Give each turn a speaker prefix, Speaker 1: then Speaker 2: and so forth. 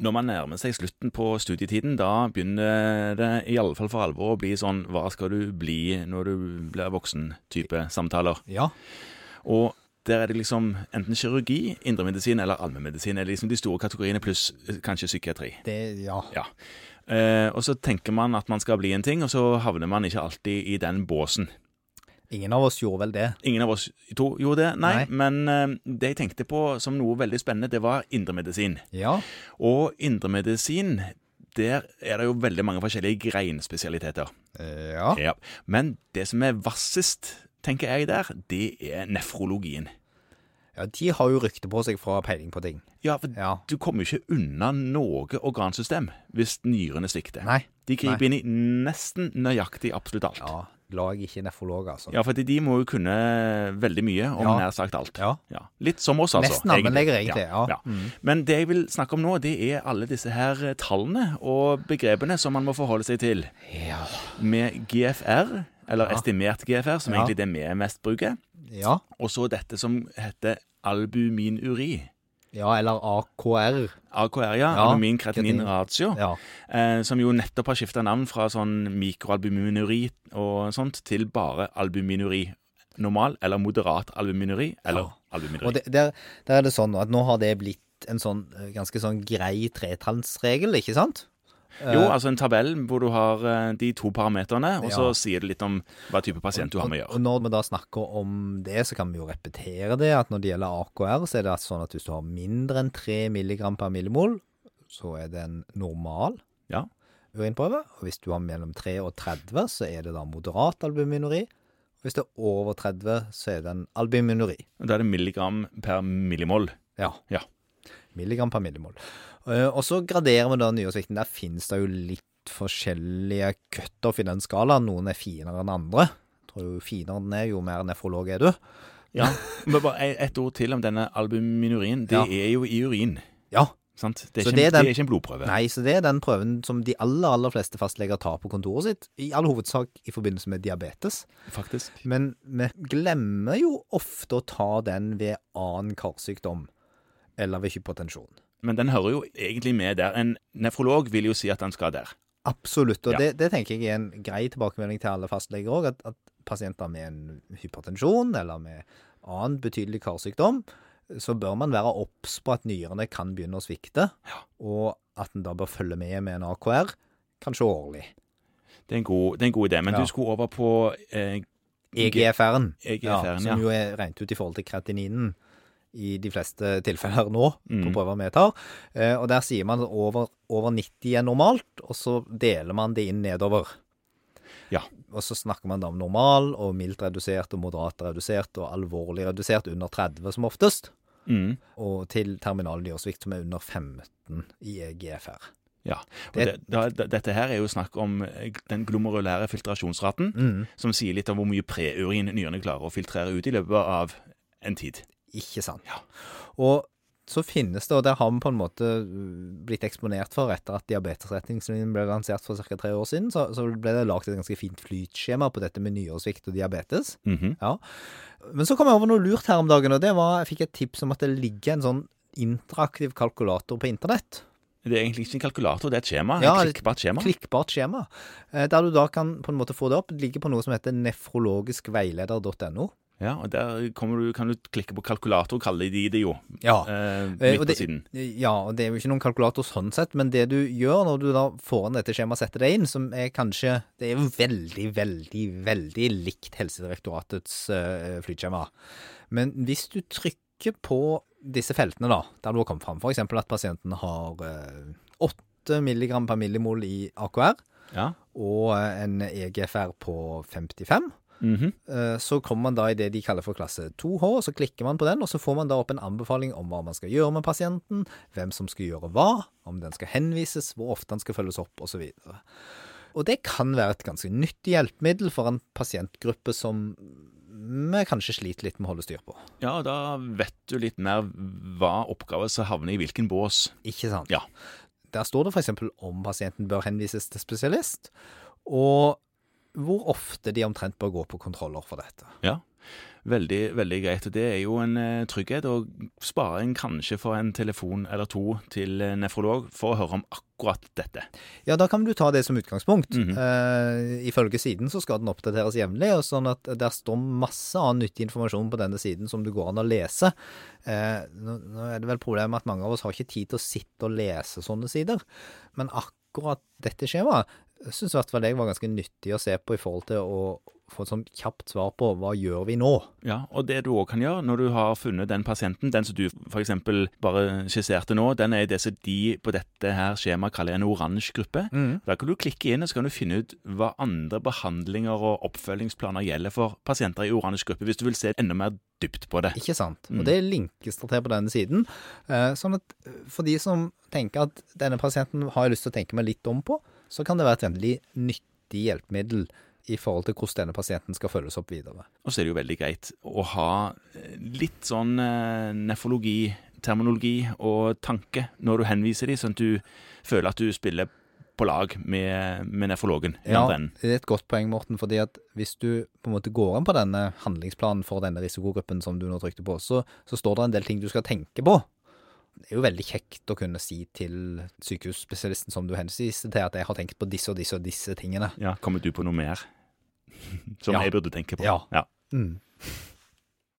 Speaker 1: Når man nærmer seg slutten på studietiden, da begynner det i alle fall for alvor å bli sånn 'hva skal du bli når du blir voksen'-type samtaler.
Speaker 2: Ja.
Speaker 1: Og der er det liksom enten kirurgi, indremedisin eller allmennmedisin er liksom de store kategoriene, pluss eh, kanskje psykiatri.
Speaker 2: Det, ja.
Speaker 1: Ja. Eh, og så tenker man at man skal bli en ting, og så havner man ikke alltid i den båsen.
Speaker 2: Ingen av oss gjorde vel det.
Speaker 1: Ingen av oss to gjorde det, nei,
Speaker 2: Nei.
Speaker 1: men eh, det jeg tenkte på som noe veldig spennende, det var indremedisin.
Speaker 2: Ja.
Speaker 1: Og indremedisin, der er det jo veldig mange forskjellige greinspesialiteter.
Speaker 2: Eh, Ja.
Speaker 1: Ja. Men det som er vassest, tenker jeg der, det er nefrologien.
Speaker 2: ja. De har jo rykte på seg for å ha peiling på ting.
Speaker 1: Ja, for
Speaker 2: Ja.
Speaker 1: du kommer jo ikke unna noe organsystem hvis nyrene svikter.
Speaker 2: Nei.
Speaker 1: De griper inn i nesten nøyaktig absolutt alt. Ja.
Speaker 2: Ja. Lag ikke nefrolog, altså.
Speaker 1: for de må jo kunne veldig mye om
Speaker 2: Ja.
Speaker 1: nær sagt alt.
Speaker 2: Ja.
Speaker 1: Ja. Litt som oss, altså.
Speaker 2: Nesten allmennleger, egentlig, ja. Mm.
Speaker 1: Men det jeg vil snakke om nå, det er alle disse her eh, tallene og begrepene som man må forholde seg til.
Speaker 2: Ja.
Speaker 1: Med GFR, eller estimert GFR, som
Speaker 2: Ja.
Speaker 1: egentlig det vi mest bruker.
Speaker 2: Ja.
Speaker 1: Og så dette som heter albuminuri.
Speaker 2: ja eller AKR.
Speaker 1: AKR, ja.
Speaker 2: Ja,
Speaker 1: Albumin kreatinin
Speaker 2: kreatin.
Speaker 1: ratio.
Speaker 2: Ja.
Speaker 1: Eh, som jo nettopp har skifta navn fra sånn mikroalbuminuri og sånt til bare albuminuri. Normal eller moderat albuminuri eller albuminuri.
Speaker 2: Og det, der, der er det sånn at nå har det blitt en sånn eh, ganske sånn grei tretallsregel, ikke sant?
Speaker 1: jo, altså en tabell hvor du har eh, de to parameterne, og så
Speaker 2: eh, Ja.
Speaker 1: sier det litt om hva type pasient du har med å
Speaker 2: Og
Speaker 1: gjøre.
Speaker 2: når vi da snakker om det, så kan vi jo repetere det, at når det gjelder AKR, så er det altså sånn at hvis du har mindre enn 3 milligram per millimol, så er det en normal
Speaker 1: Ja.
Speaker 2: urinprøve. Og hvis du har mellom 3 og 30, så er det da moderat albuminuri. Og hvis det er over 30, så er det en albuminuri.
Speaker 1: Og Da er det milligram per millimol.
Speaker 2: Ja.
Speaker 1: Ja.
Speaker 2: Milligram per millimol. Eh, Og så graderer vi da nyresvikten. Der finnes det jo litt forskjellige cutoff i den skalaen. Noen er finere enn andre. Jeg tror jo finere den er, jo mer nefrolog er du.
Speaker 1: ja. Men bare e- et ord til om denne albuminurien. Det
Speaker 2: Ja.
Speaker 1: er jo i urin.
Speaker 2: Ja.
Speaker 1: Sant? Det, er
Speaker 2: Så
Speaker 1: ikke,
Speaker 2: det
Speaker 1: det,
Speaker 2: er
Speaker 1: er
Speaker 2: den-
Speaker 1: ikke en blodprøve.
Speaker 2: Nei, så det er den prøven som de aller, aller fleste fastleger tar på kontoret sitt. I all hovedsak i forbindelse med diabetes.
Speaker 1: faktisk.
Speaker 2: Men vi glemmer jo ofte å ta den ved annen karsykdom. Eller ved hypotensjon.
Speaker 1: Men den hører jo egentlig med der. En nefrolog vil jo si at den skal der.
Speaker 2: Absolutt. Og
Speaker 1: Ja.
Speaker 2: det, det tenker jeg er en grei tilbakemelding til alle fastleger òg, at, at pasienter med en hypertensjon eller med annen betydelig karsykdom, så bør man være obs på at nyrene kan begynne å svikte, og at en da bør følge med med en AKR, kanskje årlig.
Speaker 1: Det er en god, det er en god idé. Men
Speaker 2: Ja.
Speaker 1: du skulle over på eh,
Speaker 2: EGFR-en,
Speaker 1: EGFR-en, ja.
Speaker 2: som jo er regnet ut i forhold til kreatininen i de fleste tilfeller nå, på
Speaker 1: Mm.
Speaker 2: prøver vi tar. Eh, Og der sier man at over, over 90 er normalt, og så deler man det inn nedover.
Speaker 1: Ja.
Speaker 2: Og så snakker man da om normal og mildt redusert og moderat redusert og alvorlig redusert under 30 som oftest.
Speaker 1: Mm,
Speaker 2: Og til terminal nyresvikt som er under 15 i E EGFR.
Speaker 1: ja. Og det,
Speaker 2: Det-
Speaker 1: da, da, dette her er jo snakk om eh, den glomerulære filtrasjonsraten,
Speaker 2: Mm.
Speaker 1: som sier litt om hvor mye preurin nyrene klarer å filtrere ut i løpet av en tid.
Speaker 2: Ikke sant.
Speaker 1: Ja.
Speaker 2: Og så finnes det, og det har vi på en måte uh, blitt eksponert for etter at diabetesretningslinjen ble lansert for ca. tre år siden, så, så ble det lagt et ganske fint flytskjema på dette med nyresvikt og diabetes.
Speaker 1: Mhm.
Speaker 2: Ja. Men så kom jeg over noe lurt her om dagen, og det var jeg fikk et tips om at det ligger en sånn interaktiv kalkulator på internett.
Speaker 1: Det er egentlig ikke en kalkulator, det er et skjema.
Speaker 2: Ja,
Speaker 1: et klikkbart skjema.
Speaker 2: Klikkbart skjema. eh, Der du da kan på en måte få det opp. Det ligger på noe som heter nefrologiskveileder.no.
Speaker 1: Ja, og Der kommer du, kan du klikke på kalkulator, kaller de det jo.
Speaker 2: Ja.
Speaker 1: Eh,
Speaker 2: Eh,
Speaker 1: midt
Speaker 2: og
Speaker 1: på
Speaker 2: det-
Speaker 1: siden.
Speaker 2: Ja, og det er jo ikke noen kalkulator sånn sett, men det du gjør når du da får inn dette skjemaet og setter det inn, som er kanskje Det er jo veldig, veldig, veldig likt Helsedirektoratets eh, flytskjema. Men hvis du trykker på disse feltene, da, der du har kommet fram, f.eks. at pasienten har eh, 8 mg per millimol i AKR
Speaker 1: Ja.
Speaker 2: og eh, en EGFR på 55
Speaker 1: Mhm.
Speaker 2: Eh, Så kommer man da i det de kaller for klasse 2H, og så klikker man på den, og så får man da opp en anbefaling om hva man skal gjøre med pasienten, hvem som skal gjøre hva, om den skal henvises, hvor ofte den skal følges opp, osv. Og det kan være et ganske nyttig hjelpemiddel for en pasientgruppe som vi kanskje sliter litt med å holde styr på.
Speaker 1: ja, og da vet du litt mer hva oppgaver som havner i hvilken bås.
Speaker 2: Ikke sant?
Speaker 1: Ja.
Speaker 2: Der står det f.eks. om pasienten bør henvises til spesialist, og hvor ofte de omtrent bør gå på kontroller for dette.
Speaker 1: Veldig, veldig greit. Det er jo en eh, trygghet, og sparer en kanskje for en telefon eller to til eh, nefrolog for å høre om akkurat dette.
Speaker 2: Ja, da kan du ta det som utgangspunkt.
Speaker 1: Mhm.
Speaker 2: eh, ifølge siden så skal den oppdateres jevnlig, og sånn at der står masse annen nyttig informasjon på denne siden som det går an å lese. Eh, nå, nå er det vel problemet med at mange av oss har ikke tid til å sitte og lese sånne sider, men akkurat dette skjemaet syns i hvert fall jeg var ganske nyttig å se på i forhold til å få et sånn kjapt svar på hva gjør vi nå?
Speaker 1: Ja, Og det du òg kan gjøre når du har funnet den pasienten, den som du f.eks. bare skisserte nå, den er i det som de på dette her skjemaet kaller en oransje gruppe. Da kan du klikke inn og så kan du finne ut hva andre behandlinger og oppfølgingsplaner gjelder for pasienter i oransje gruppe, hvis du vil se enda mer dypt på det.
Speaker 2: Ikke sant.
Speaker 1: Mm.
Speaker 2: Og det linkes der til på denne siden. Eh, Sånn at eh, for de som tenker at denne pasienten har jeg lyst til å tenke meg litt om på, så kan det være et veldig nyttig hjelpemiddel i forhold til hvordan denne pasienten skal følges opp videre.
Speaker 1: Og så er det jo veldig greit å ha eh, litt sånn eh, nefrologi, terminologi og tanke når du henviser dem, sånn at du føler at du spiller på lag med, med nefrologen. den andre enden.
Speaker 2: det er et godt poeng, Morten, fordi at hvis du på en måte går inn på denne handlingsplanen for denne risikogruppen som du nå trykte på, så, så står det en del ting du skal tenke på. Det er jo veldig kjekt å kunne si til sykehusspesialisten som du henviser til, at jeg har tenkt på disse og disse og disse tingene.
Speaker 1: Ja, kommer du på noe mer som
Speaker 2: Ja.
Speaker 1: jeg burde tenke på?
Speaker 2: Ja.
Speaker 1: ja.
Speaker 2: Mm.